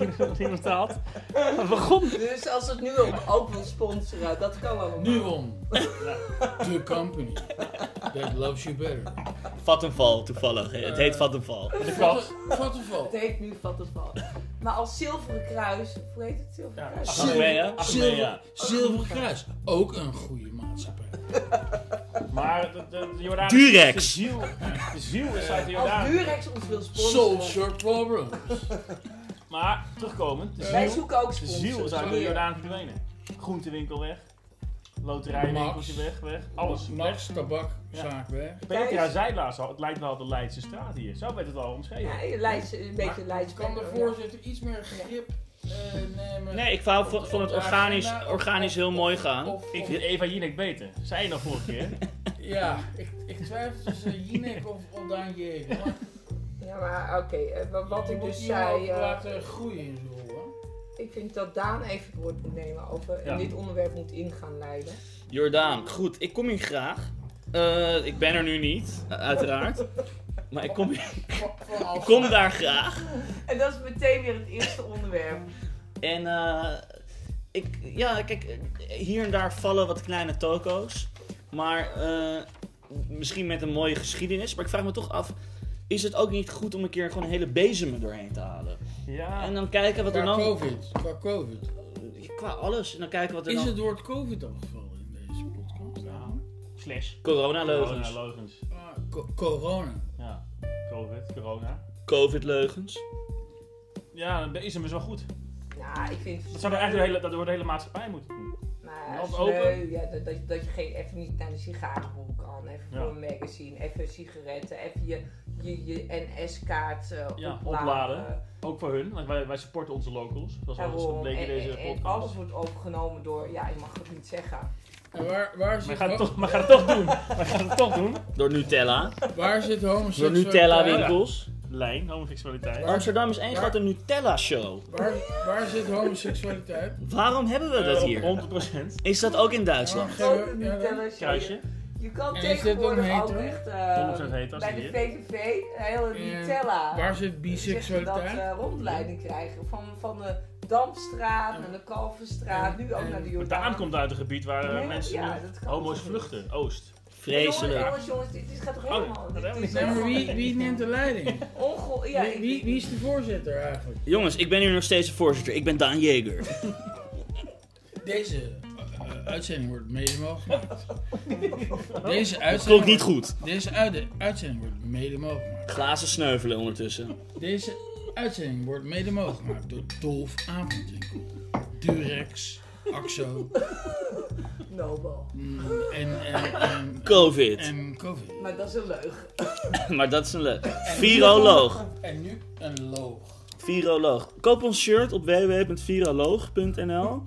S2: iedereen betaald. We begonnen.
S3: Dus als het nu ook, ook wil sponsoren, dat kan allemaal.
S4: Nuon, the company that loves you better.
S1: Vattenval toevallig. Het heet
S4: Eh.
S1: Vattenval.
S2: De kat.
S4: Wat een val.
S3: Het heet nu vat het val. Maar als zilveren kruis, hoe heet het zilveren
S2: Ja,
S3: kruis?
S1: Achmea.
S4: Zilver, Zilver Kruis, ook een goede maatschappij.
S2: Maar de, de, de Jordaan.
S1: Durex.
S2: De ziel, de ziel is uit de
S3: Eh, Als
S2: Jordaan.
S3: Durex ons wil sponsoren.
S4: Solve your problem.
S2: Maar terugkomend, de
S3: Eh, Wij
S2: ziel,
S3: zoeken ook
S2: de
S3: sponsors.
S2: ziel is uit de
S3: Meer.
S2: Jordaan verdwenen. Groentewinkel weg, loterijwinkeltje
S4: Max.
S2: weg, weg, alles weg.
S4: Max, tabakzaak weg.
S2: Petra zei laatst al, het lijkt wel de Leidse straat hier. Zo werd het al omschreven.
S3: Ja, Leids, een beetje
S4: Maar
S3: Leids.
S4: Kan de voorzitter iets meer grip eh, nemen?
S1: Nee, ik wou van- van het organisch, organisch heel mooi gaan.
S4: Of-
S2: Ik
S4: of-
S2: vind Eva Jinek beter. Zij nog vorige keer.
S4: ja, ik, ik twijfel tussen eh, Jinek of, of Daan Jeven. maar
S3: Ja, maar oké, eh, wa- wat
S4: je
S3: ik
S4: moet
S3: dus
S4: iemand
S3: zei. eh,
S4: laten groeien in zijn rol. hè?
S3: ik vind dat Daan even het woord moet nemen over
S2: Ja.
S3: en dit onderwerp moet in gaan leiden.
S1: Jordaan, goed, ik kom hier graag. Eh, ik ben er nu niet, eh, uiteraard. Maar ik kom, ik
S4: Van- van als-
S1: kom daar graag.
S3: En dat is meteen weer het eerste onderwerp.
S1: En eh, ik, ja, kijk, eh, hier en daar vallen wat kleine toko's. Maar eh, misschien met een mooie geschiedenis. Maar ik vraag me toch af, is het ook niet goed om een keer gewoon een hele bezem er doorheen te halen? En
S2: Ja,
S1: dan kijken wat er
S4: Qua
S1: dan...
S4: COVID. Qua COVID.
S1: Qua alles. En dan kijken wat er
S4: Is
S1: dan...
S4: het woord COVID al gevallen in deze podcast?
S2: Nou. slash.
S1: Corona-leugens.
S2: Corona-leugens.
S4: Ah, co- corona.
S2: Ja, COVID, corona.
S1: Covid-leugens.
S2: Ja, een bezem is wel goed.
S3: Nou, ik vind het
S2: Dat zou er eigenlijk de hele, dat door de hele maatschappij moeten.
S3: Maar
S2: Mond
S3: sneu,
S2: open.
S3: ja, dat, dat, dat je geen, even niet naar de sigarenboek kan, even
S2: Ja.
S3: voor een magazine, even sigaretten, even je, je, je NS-kaart eh,
S2: Ja,
S3: opladen.
S2: opladen. Ook voor hun, want wij, wij supporten onze locals. Zoals al is
S3: Daarom.
S2: gebleken in
S3: En-
S2: deze
S3: en- en
S2: podcast.
S3: eh, alles wordt overgenomen door, ja, ik mag het niet zeggen.
S4: En waar, waar,
S2: Maar
S4: zit,
S2: gaat het
S4: ho-
S2: toch, maar gaat het toch doen. Maar gaat het toch doen.
S1: Door Nutella.
S4: waar zit
S1: Door
S4: homoseksualiteit?
S1: Nutella-winkels.
S2: Lijn, homoseksualiteit.
S1: Amsterdam is één grote Nutella-show.
S4: Waar, waar zit homoseksualiteit?
S1: Waarom hebben we
S2: Eh,
S1: dat hier?
S2: 100%.
S1: Is dat ook in Duitsland?
S4: Ja,
S3: Grote
S4: ja,
S3: Nutella's, ja, je-
S2: Kruisje.
S3: Je kan
S4: En is dit
S3: tegenwoordig
S4: dan
S3: ook
S4: hetero?
S3: echt eh,
S2: 100% hetero,
S3: bij
S2: zie
S3: de
S2: je.
S3: VVV een hele
S4: En
S3: Nutella.
S4: Waar zit
S3: zeg je dat
S4: biseksualiteit?
S3: eh, rondleiding krijgen van, van de Damstraat naar de Kalverstraat, nu ook
S4: En-
S3: naar de
S2: Want
S3: Jordaan.
S2: Daan komt uit een gebied waar eh,
S3: Nee,
S2: mensen
S3: ja,
S2: nu
S3: dat kan
S2: homo's
S3: toch niet.
S2: vluchten. Oost.
S3: Jongens,
S1: Vreselijk.
S3: jongens, jongens, dit, dit gaat toch
S2: Oh,
S3: helemaal...
S2: dat
S3: dit
S2: hebben we
S3: is
S2: niet.
S4: Nee, maar wie,
S3: echt
S4: wie neemt de leiding?
S3: Onge... Ja,
S4: Wie,
S3: ik-
S4: wie, wie is de voorzitter eigenlijk?
S1: Jongens, ik ben hier nog steeds de voorzitter. Ik ben Daan Jeger.
S4: Deze eh, eh, uitzending wordt mede mogelijk gemaakt. Deze
S1: Dat klonk
S4: uitzending,
S1: niet
S4: wordt-
S1: goed.
S4: Deze uide- uitzending wordt mede mogelijk gemaakt.
S1: Glazen sneuvelen ondertussen.
S4: Deze uitzending wordt mede mogelijk gemaakt door Dolf Avondwinkel, Durex, Axo
S3: Nobel.
S4: mm, en, en, en,
S1: Covid.
S4: en COVID.
S3: Maar dat is een leugen.
S1: Maar dat is een leuk. Viroloog.
S4: En nu een loog.
S1: Viroloog. Koop ons shirt op www.viroloog.nl.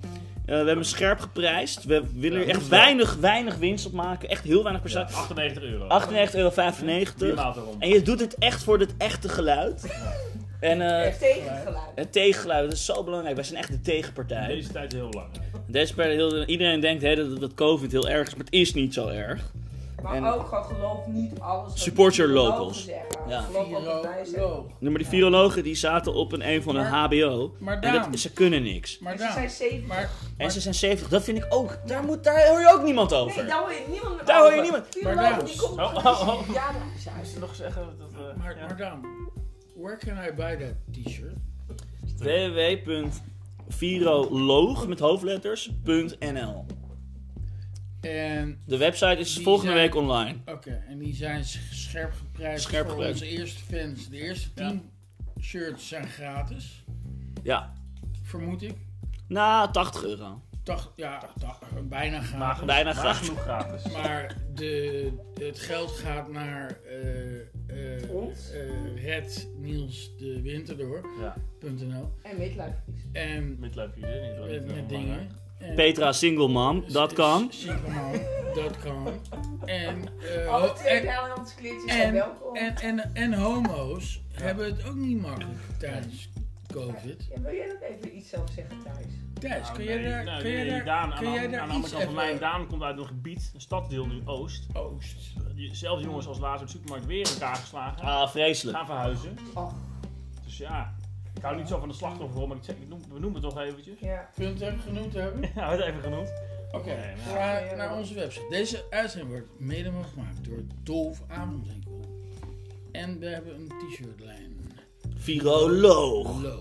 S1: Eh, we hebben scherp geprijsd. We willen er
S2: Ja,
S1: echt
S2: dat is wel.
S1: weinig, weinig winst op maken. Echt heel weinig
S2: Ja,
S1: procent.
S2: 98 euro.
S1: 98,95 euro.
S2: Drie maal erom.
S1: En je doet het echt voor het echte geluid. En eh,
S3: Echt tegengeluid.
S1: het tegengeluid, dat is zo belangrijk. Wij zijn echt de tegenpartij.
S2: Deze tijd is heel belangrijk.
S1: Deze partij, heel, iedereen denkt hè, dat, dat COVID heel erg is, maar het is niet zo erg.
S3: Maar
S1: en-
S3: ook gewoon geloof niet alles wat
S1: Support your
S3: die virologen
S1: locals.
S3: zeggen.
S1: Ja.
S3: Geloof wat wij zeggen.
S4: Viroloog.
S1: Nee, Maar die virologen die zaten op een een van een
S4: Maar-
S1: HBO.
S4: Maar
S1: En
S4: Daan,
S1: dat, ze kunnen niks.
S4: maar
S3: En Ze zijn
S4: Daan,
S3: zeven.
S4: maar,
S1: En ze zijn 70, dat vind ik ook. Daar, moet, daar hoor je ook niemand
S3: Nee,
S1: over.
S3: daar hoor je niemand meer
S1: Daar hoor je
S3: over.
S1: niemand.
S3: Virologen, die
S4: Maar
S3: komt
S2: daar-
S3: oh,
S2: Oh, oh, oh.
S3: ja, dat is
S2: Moet
S3: juist.
S2: je nog zeggen dat... eh,
S4: maar,
S2: ja.
S4: maar Daan, where can I buy that t-shirt?
S1: www.viroloog met hoofdletters.nl
S4: En
S1: De website is
S4: Die
S1: volgende
S4: zijn-
S1: week online.
S4: Oké, en die zijn s- scherp geprijsd
S1: Scherp
S4: voor
S1: geprijsd.
S4: onze eerste fans. De eerste
S1: Ja.
S4: tien shirts zijn gratis,
S1: Ja,
S4: vermoed ik.
S1: na 80 euro.
S4: Tach, ja, tach- bijna
S2: Maar
S4: gratis.
S2: genoeg-
S1: Bijna
S2: maar
S1: gratis.
S2: genoeg gratis.
S4: Maar de, het geld gaat naar eh, eh,
S3: Ons?
S4: eh, Red Niels de Winter
S2: Ja,
S3: En midlife crisis.
S4: En
S2: midlife
S4: met,
S2: crisis.
S4: met dingen. En-
S1: Petra Single Mom, dat kan.
S4: Singlemom, dat kan. En, eh, ho-
S3: Alle
S4: en,
S3: tweedehands klitjes zijn
S4: en,
S3: welkom.
S4: en, en, en homo's hebben het ook niet makkelijk tijdens COVID.
S3: Ja, wil jij dat even iets zelf zeggen thuis?
S4: Thijs,
S2: Nou,
S4: dus kun jij
S2: nee,
S4: daar,
S2: nou,
S4: kun jij
S2: nee,
S4: daar,
S2: Daan, aan
S4: kun
S2: de-
S4: jij daar
S2: aan de andere
S4: iets
S2: kant van de lijn,
S4: even...
S2: Daan komt uit een gebied, een stadsdeel nu Oost.
S4: Oost.
S2: Zelfde jongens als laatst op de supermarkt weer in elkaar geslagen.
S1: Ah, vreselijk.
S2: Gaan verhuizen.
S3: Och,
S2: Dus ja, ik hou niet zo van de slachtofferrol, maar ik zeg, ik noem, we noemen het toch eventjes.
S3: ja.
S4: Punt hebben genoemd hebben?
S2: Ja, we hebben het even genoemd.
S4: Oké,
S2: Nee, maar-
S4: ga naar onze website. Deze uitzending wordt mede mogelijk gemaakt door Dolf Avondwinkel. En we hebben een t-shirtlijn.
S1: Viroloog.
S4: Loog.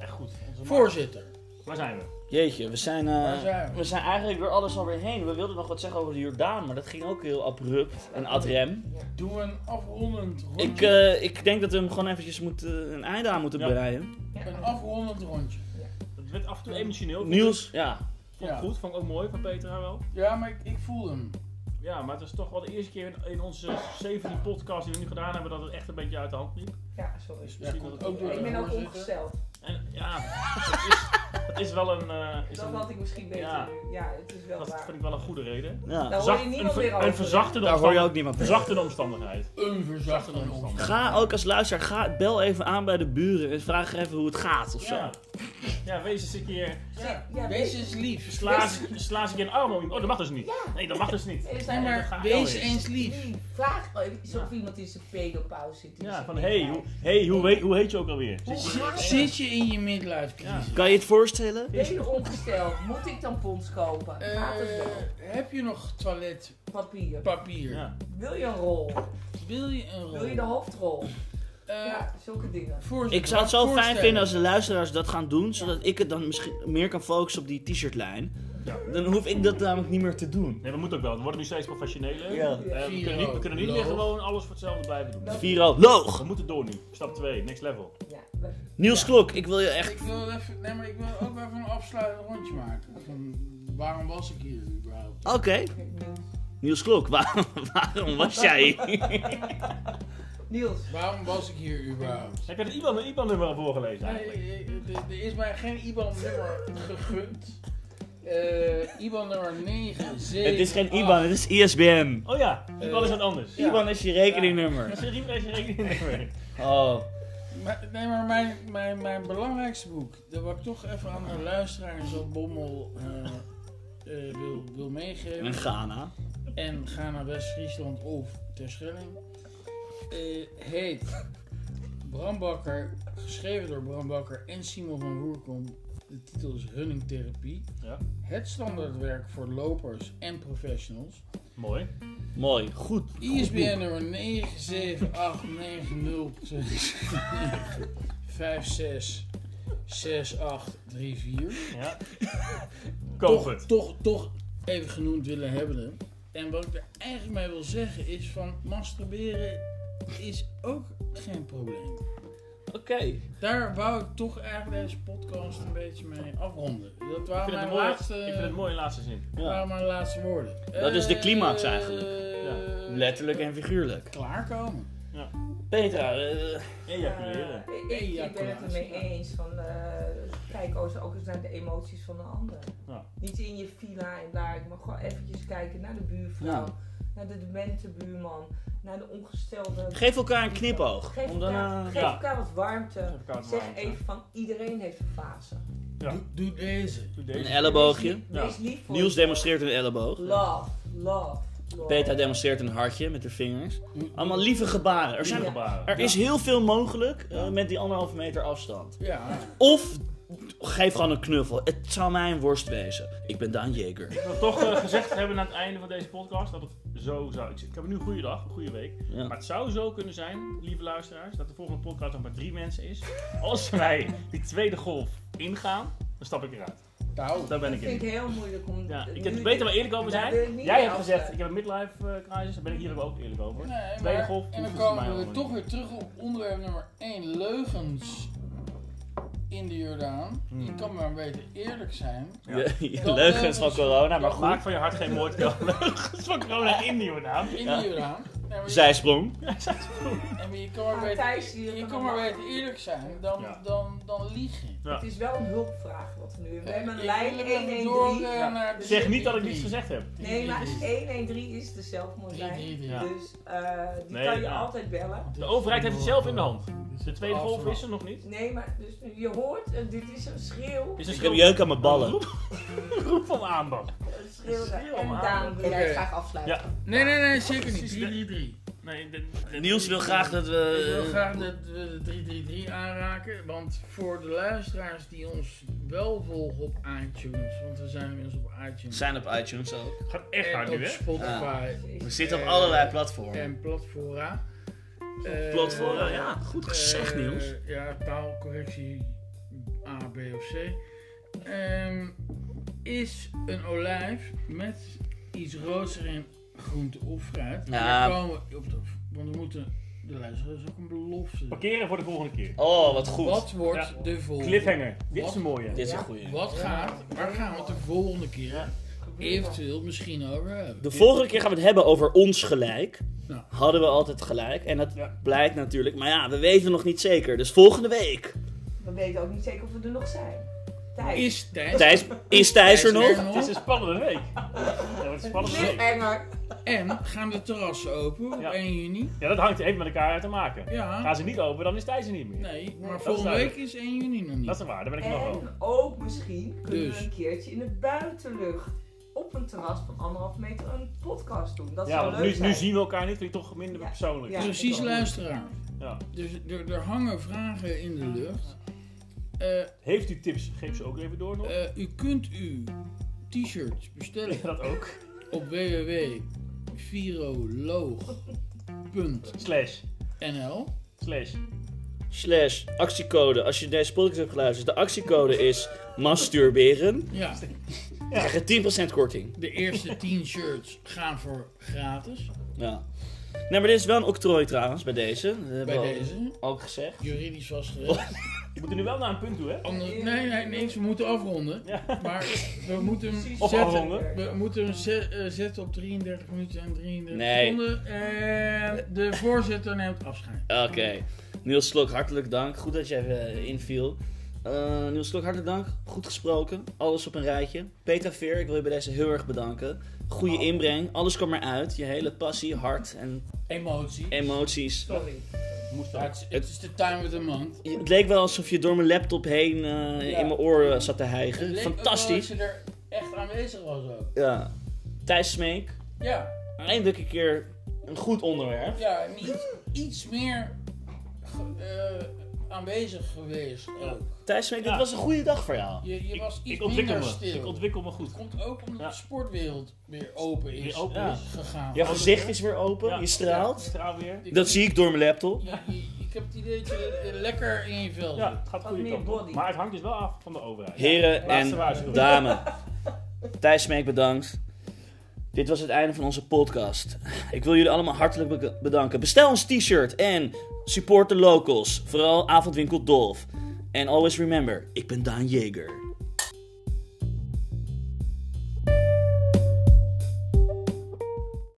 S2: Echt goed. Onze
S4: Voorzitter,
S2: Waar zijn we?
S1: Jeetje, we zijn, eh,
S4: Waar zijn we?
S1: we zijn eigenlijk door alles alweer heen. We wilden nog wat zeggen over de Jordaan, maar dat ging ook heel abrupt en ad rem.
S4: Doen we een afrondend rondje.
S1: Ik, eh, ik denk dat we hem gewoon eventjes moeten, eh, een einde aan moeten
S2: Ja.
S1: breien.
S4: Een afrondend rondje.
S2: Dat werd af en toe emotioneel.
S1: Niels, ja.
S2: Vond ik
S4: Ja.
S2: goed, vond ik ook mooi van Peter haar wel.
S4: Ja, maar ik, ik voel hem.
S2: Ja, maar het is toch wel de eerste keer in, in onze 17 podcasts die we nu gedaan hebben dat het echt een beetje uit de hand liep.
S3: Ja, sorry.
S2: Dus misschien
S4: komt
S2: dat
S4: ook
S2: het
S4: door
S3: Ik ben ook
S4: Voorzitter.
S3: ongesteld.
S2: En ja, het is, het is wel een. eh, is
S3: Dat
S2: een-
S3: had ik misschien beter
S2: Ja.
S3: nu. Ja, het is wel
S2: dat
S3: waar.
S2: vind ik wel een goede reden.
S1: ja.
S3: Daar hoor je
S2: Zacht-
S3: niemand
S2: een,
S3: meer
S2: ver,
S3: over.
S2: een verzachtende,
S1: Daar hoor je
S2: omstandigheid.
S1: ook niemand meer.
S2: verzachtende omstandigheid.
S4: Een verzachtende omstandigheid.
S1: Ga ook als luisteraar, ga, bel even aan bij de buren en vraag even hoe het gaat of zo.
S2: Ja. ja, wees eens een keer.
S4: Ja,
S3: Ja,
S4: wees
S3: weet-
S4: eens lief.
S2: Sla eens- sla eens een keer een arm om iemand. Oh, dat mag dus niet. Nee, dat mag dus niet.
S3: Er is
S4: Nee,
S3: daar
S2: dat
S4: maar
S2: gaat
S4: wees
S2: wel
S4: eens lief.
S3: Vraag oh, is
S2: Ja.
S3: of iemand in zijn pedopauze zit. die
S2: Ja,
S3: zijn
S2: van hey, hoe,
S3: pedopauze.
S2: hey, hoe, weet, hoe heet je ook alweer?
S3: Hoe gaat het?
S4: Zit je in je midlife crisis?
S1: Kan je het voorstellen?
S3: Ben je ongesteld? Moet ik tampons kopen?
S4: Eh,
S3: Gaat het wel?
S4: heb je nog toiletpapier?
S2: Ja.
S3: Wil je een rol?
S4: Wil je een rol?
S3: Wil je de hoofdrol?
S4: Eh,
S3: Ja, zulke dingen.
S4: voorzitter,
S1: Ik zou het zo
S4: wat
S1: fijn
S4: voorstellen?
S1: vinden als de luisteraars dat gaan doen, zodat ik het dan misschien meer kan focussen op die t-shirtlijn.
S2: Ja.
S1: Dan hoef ik dat namelijk niet meer te doen.
S2: Nee, dat moet ook wel. We worden nu steeds professioneler.
S1: Ja.
S2: Eh, we, kunnen niet, we kunnen niet meer gewoon alles voor hetzelfde blijven doen.
S3: Dat-
S1: Viroloog.
S2: We moeten door nu. Stap 2, next level.
S3: Ja, dat-
S1: Niels
S3: Ja.
S1: Klok, ik wil je echt...
S4: Ik wil, even, nee, maar ik wil ook even een afsluitend rondje maken. Van, waarom was ik hier überhaupt?
S1: Oké, Niels Klok, waarom, waarom was jij
S3: Niels,
S4: Waarom was ik hier überhaupt?
S2: Heb je het IBAN, IBAN-nummer voorgelezen
S4: Nee,
S2: eigenlijk?
S4: eh, eh, er er is mij geen IBAN-nummer gegund. Eh IBAN-nummer 9, 7,
S1: Het is geen
S4: 8.
S1: IBAN, het is ISBN.
S2: Oh ja, IBAN is wat anders.
S4: Eh, Ja.
S1: IBAN is je rekeningnummer.
S2: Dat is een is een rekeningnummer.
S1: Oh.
S4: Maar- Nee, maar mijn, mijn, mijn belangrijkste boek, dat wat ik toch even aan de luisteraar zo'n bommel eh, eh, wil, wil
S1: En
S4: meegeven.
S1: Ghana.
S4: En ga naar West-Friesland of Terschelling. Eh heet Bram Bakker, geschreven door Bram Bakker en Simon van Roerkom. De titel is Runningtherapie.
S2: Ja.
S4: Het standaardwerk voor lopers en professionals.
S2: Mooi.
S1: Mooi, goed. goed boek.
S4: ISBN nummer 97890566834.
S2: Ja. Koop
S4: Toch,
S2: het.
S4: toch, toch even genoemd willen hebben. En wat ik er eigenlijk mee wil zeggen is van masturberen is ook geen probleem.
S1: Oké.
S4: Daar wou ik toch eigenlijk deze podcast een beetje mee afronden. Dat
S2: Ik
S4: waren
S2: vind,
S4: mijn
S2: het mooi,
S4: laatste,
S2: ik vind het mooi in laatste zin.
S1: Ja.
S4: waren mijn laatste woorden.
S1: Dat is de climax eigenlijk.
S4: Eh,
S1: Letterlijk en figuurlijk.
S4: Klaarkomen.
S1: Petra, eh,
S2: Ejaculeren.
S3: eh, ik- ik, ik ben het ermee
S4: Ejaculatie.
S3: eens. Van, eh, kijk ook, ook eens naar de emoties van de ander.
S2: Ja.
S3: Niet in je villa en daar, maar gewoon eventjes kijken naar de buurvrouw,
S1: Ja.
S3: naar de demente buurman, naar de ongestelde.
S1: geef elkaar een knipoog.
S3: Geef,
S1: Om dan,
S3: elkaar,
S1: eh,
S3: geef
S2: Ja.
S3: elkaar wat
S2: Geef
S3: warmte.
S2: elkaar wat
S3: Zeg
S2: warmte.
S3: even van iedereen heeft een fase.
S2: Ja.
S4: Doe, doe deze.
S2: Doe
S1: een
S2: deze.
S1: elleboogje.
S2: Ja.
S3: Wees lief voor
S1: Niels
S3: jezelf.
S1: demonstreert een elleboog.
S3: Love, love, love.
S1: Petra demonstreert een hartje met haar vingers.
S4: Doe-
S1: Allemaal lieve gebaren. Er, zijn,
S2: Gebaren.
S1: er is heel veel mogelijk eh, met die anderhalve meter afstand.
S4: Ja.
S1: Of geef gewoon een knuffel. Het zou mijn worst wezen. Ik ben Daan Jeker.
S2: Ik wil toch eh, gezegd hebben aan het einde van deze podcast dat het zo zou. Ik, ik heb nu een goede dag, een goede week. Maar
S1: Ja.
S2: het zou zo kunnen zijn, lieve luisteraars, dat de volgende podcast nog maar drie mensen is. Als wij die tweede golf ingaan, dan stap ik eruit.
S4: Nou,
S2: Daar ben
S3: Dat
S2: ik
S3: vind
S2: in.
S3: ik heel moeilijk om.
S2: Ja, ik
S3: nu-
S2: het beter wel eerlijk over
S3: Daar
S2: zijn.
S3: wil ik niet
S2: Jij hebt
S3: over.
S2: gezegd, ik heb een midlife eh, crisis, daar ben ik hier ook eerlijk over.
S4: Nee,
S2: Tweede
S4: maar-
S2: golf
S4: en
S2: hoeft
S4: dan
S2: het voor mij
S4: komen we
S2: allemaal
S4: toch weer terug op onderwerp nummer 1, leugens in de Jordaan.
S2: Hmm.
S4: Je kan maar beter eerlijk zijn.
S2: Ja.
S1: Je- je leugens van corona, maar goed.
S2: Maak van je hart geen moordkuil. Dat is van corona in die naam.
S4: In
S1: Ja.
S4: de Jordaan. Nee, maar je-
S1: Zijsprong.
S4: en je kan maar
S3: Ah, Thijs,
S4: beter,
S3: die
S4: je
S3: kan
S4: kan
S3: wel
S4: maar
S3: lachen.
S4: beter eerlijk zijn dan,
S2: Ja.
S4: dan, dan liegen.
S3: Het is wel een hulpvraag wat we nu hebben. We hebben een
S4: Ik
S3: lijn
S4: wil
S3: 113.
S4: even door, eh, naar de
S2: Zeg niet dat ik
S4: 333.
S2: niets gezegd heb.
S3: Nee, maar
S4: 333.
S3: 113 is de zelfmoordlijn.
S4: 333.
S2: Ja.
S3: Dus eh, die
S2: Nee,
S3: kan je
S2: ja.
S3: altijd bellen.
S2: De overheid heeft het zelf in de hand. De tweede golf is er nog niet.
S3: Nee, maar dus, je hoort, eh, dit is een schreeuw.
S2: Is er
S1: Ik heb
S2: schil-
S1: jeuk aan mijn ballen.
S2: Roep, roep van aandacht.
S3: Een schreeuw.
S2: schreeuw,
S3: En
S2: man.
S3: daarom wil jij
S4: Oké.
S3: graag afsluiten.
S2: Ja.
S4: Nee, nee, nee, zeker niet.
S2: Precies,
S4: 333.
S2: Nee, de- de-
S1: Niels wil graag dat
S4: Ik wil
S2: Eh,
S1: we...
S4: graag dat we de 333 aanraken, want voor de luisteraars die ons wel volgen op iTunes, want we zijn inmiddels op iTunes.
S1: eh, Zijn op iTunes ook.
S2: Gaat echt
S4: en
S2: hard
S4: op
S2: nu, hè?
S4: Spotify
S3: Dus
S1: We zitten op
S4: Eh,
S1: allerlei platformen.
S4: en platfora. Eh,
S1: Platformen, ja. Goed gezegd,
S4: eh,
S1: Niels.
S4: Ja, taalcorrectie A, B of C. Ehm, is een olijf met iets roods erin, groente of fruit.
S1: Ja.
S4: Daar komen we op de, want we moeten de luisteraars ook een belofte. doen.
S2: Parkeren voor de volgende keer.
S1: Oh, wat goed.
S4: Wat wordt
S2: Ja.
S4: de volgende?
S2: Cliffhanger. Dit is een mooie.
S1: Dit is een
S3: Ja.
S1: goeie.
S4: Wat gaat, waar gaan we het de volgende keer eventueel misschien over hebben?
S1: De volgende keer gaan we het hebben over ons gelijk.
S4: Ja.
S1: Hadden we altijd gelijk. En dat
S2: Ja.
S1: blijkt natuurlijk. Maar ja, we weten nog niet zeker. Dus volgende week.
S3: We weten ook niet zeker of we er nog zijn. Tijd.
S4: Is Thijs,
S1: Thijs, is Thijs er nog?
S2: Het is een spannende week. Ja, het is een spannende week.
S3: Cliffhanger.
S4: En gaan de terrassen open op
S2: Ja.
S4: 1 juni?
S2: Ja, dat hangt even met elkaar uit te maken. Gaan
S4: Ja,
S2: ze niet open, dan is Thijs er niet meer.
S4: nee, maar
S3: dat is
S4: volgende
S2: duidelijk.
S4: week is 1 juni nog niet.
S2: Dat is waar, daar ben ik nog wel.
S3: En ook misschien kunnen
S4: Dus.
S3: we een keertje in de buitenlucht op een terras van anderhalf meter een podcast doen. Dat
S2: Ja,
S3: zou
S2: want
S3: leuk
S2: nu,
S3: zijn.
S2: nu zien we elkaar niet, vind ik toch minder
S3: Ja.
S2: persoonlijk.
S3: Ja.
S4: Precies,
S3: ik ook.
S4: luisteraar.
S2: Ja.
S4: Dus er, er hangen vragen in de lucht. Eh,
S2: Heeft u tips, geef ze ook even door nog.
S4: eh, u kunt uw t-shirts bestellen
S2: Dat ook.
S4: op www.viroloog.nl
S2: Slash. Slash.
S1: Slash actiecode. Als je deze podcast hebt geluisterd, de actiecode is masturberen.
S4: Ja,
S1: Krijg je 10% korting.
S4: de eerste 10 shirts gaan voor gratis.
S1: Ja. Nee, maar dit is wel een octrooi trouwens bij deze. Dat hebben
S4: Bij
S1: we al- Oh.
S4: deze.
S1: Ook gezegd.
S4: Juridisch vastgelegd.
S2: Je moet er nu wel naar een punt toe, hè?
S4: Ander- nee, nee, niks. We moeten afronden.
S2: Ja.
S4: Maar we moeten hem
S3: Precies.
S2: Of
S4: zetten.
S2: afronden.
S4: We moeten hem ze- eh, zetten op 33 minuten en 33
S1: Nee.
S4: seconden. En de voorzitter neemt afscheid.
S1: Oké. Niels Slok, hartelijk dank. Goed dat jij eh, inviel. Eh, Niels Slok, hartelijk dank. Goed gesproken. Alles op een rijtje. Peter Veer, ik wil je bij deze heel erg bedanken. Goede inbreng. Alles kwam eruit. Je hele passie, hart en
S4: Emotie.
S1: emoties.
S3: Sorry.
S2: Moest
S4: Ja,
S2: dat.
S4: het, is, het is de time of the month.
S1: Je- Het leek wel alsof je door mijn laptop heen eh,
S4: Ja.
S1: in mijn oren zat te
S4: Het
S1: hijgen.
S4: leek ook
S1: Fantastisch.
S4: wel Dat je er echt aanwezig was ook.
S1: Ja. Thijs Smeek,
S4: Ja,
S1: eindelijk een keer een goed onderwerp.
S4: ja niet iets meer ge- eh, aanwezig geweest ook.
S1: Thijs Smeek, dit
S2: Ja.
S1: was een goede dag voor jou.
S4: Je, je was iets
S2: ik ontwikkel
S4: minder
S2: me.
S4: stil.
S2: Ik ontwikkel me goed.
S4: Het komt ook omdat
S2: Ja.
S4: de sportwereld weer open is,
S2: Weer open
S4: ja,
S2: is.
S4: gegaan.
S1: Jouw gezicht is weer open,
S2: Ja.
S1: je straalt.
S2: Straal weer.
S4: Ik-
S1: Dat zie ik door mijn laptop.
S4: Je- je- ik heb het idee dat je eh, lekker in je vel
S2: Ja,
S4: zit.
S2: het gaat
S3: Wat
S2: goed.
S3: meer body.
S2: Maar het hangt dus wel af van de overheid.
S1: Heren
S2: Laatste
S1: en
S2: waarschuwing.
S1: dames. Thijs Smeek, bedankt. Dit was het einde van onze podcast. Ik wil jullie allemaal hartelijk be- bedanken. Bestel ons t-shirt en support de locals. Vooral avondwinkel Dolf. En always remember, ik ben Daan Jeger.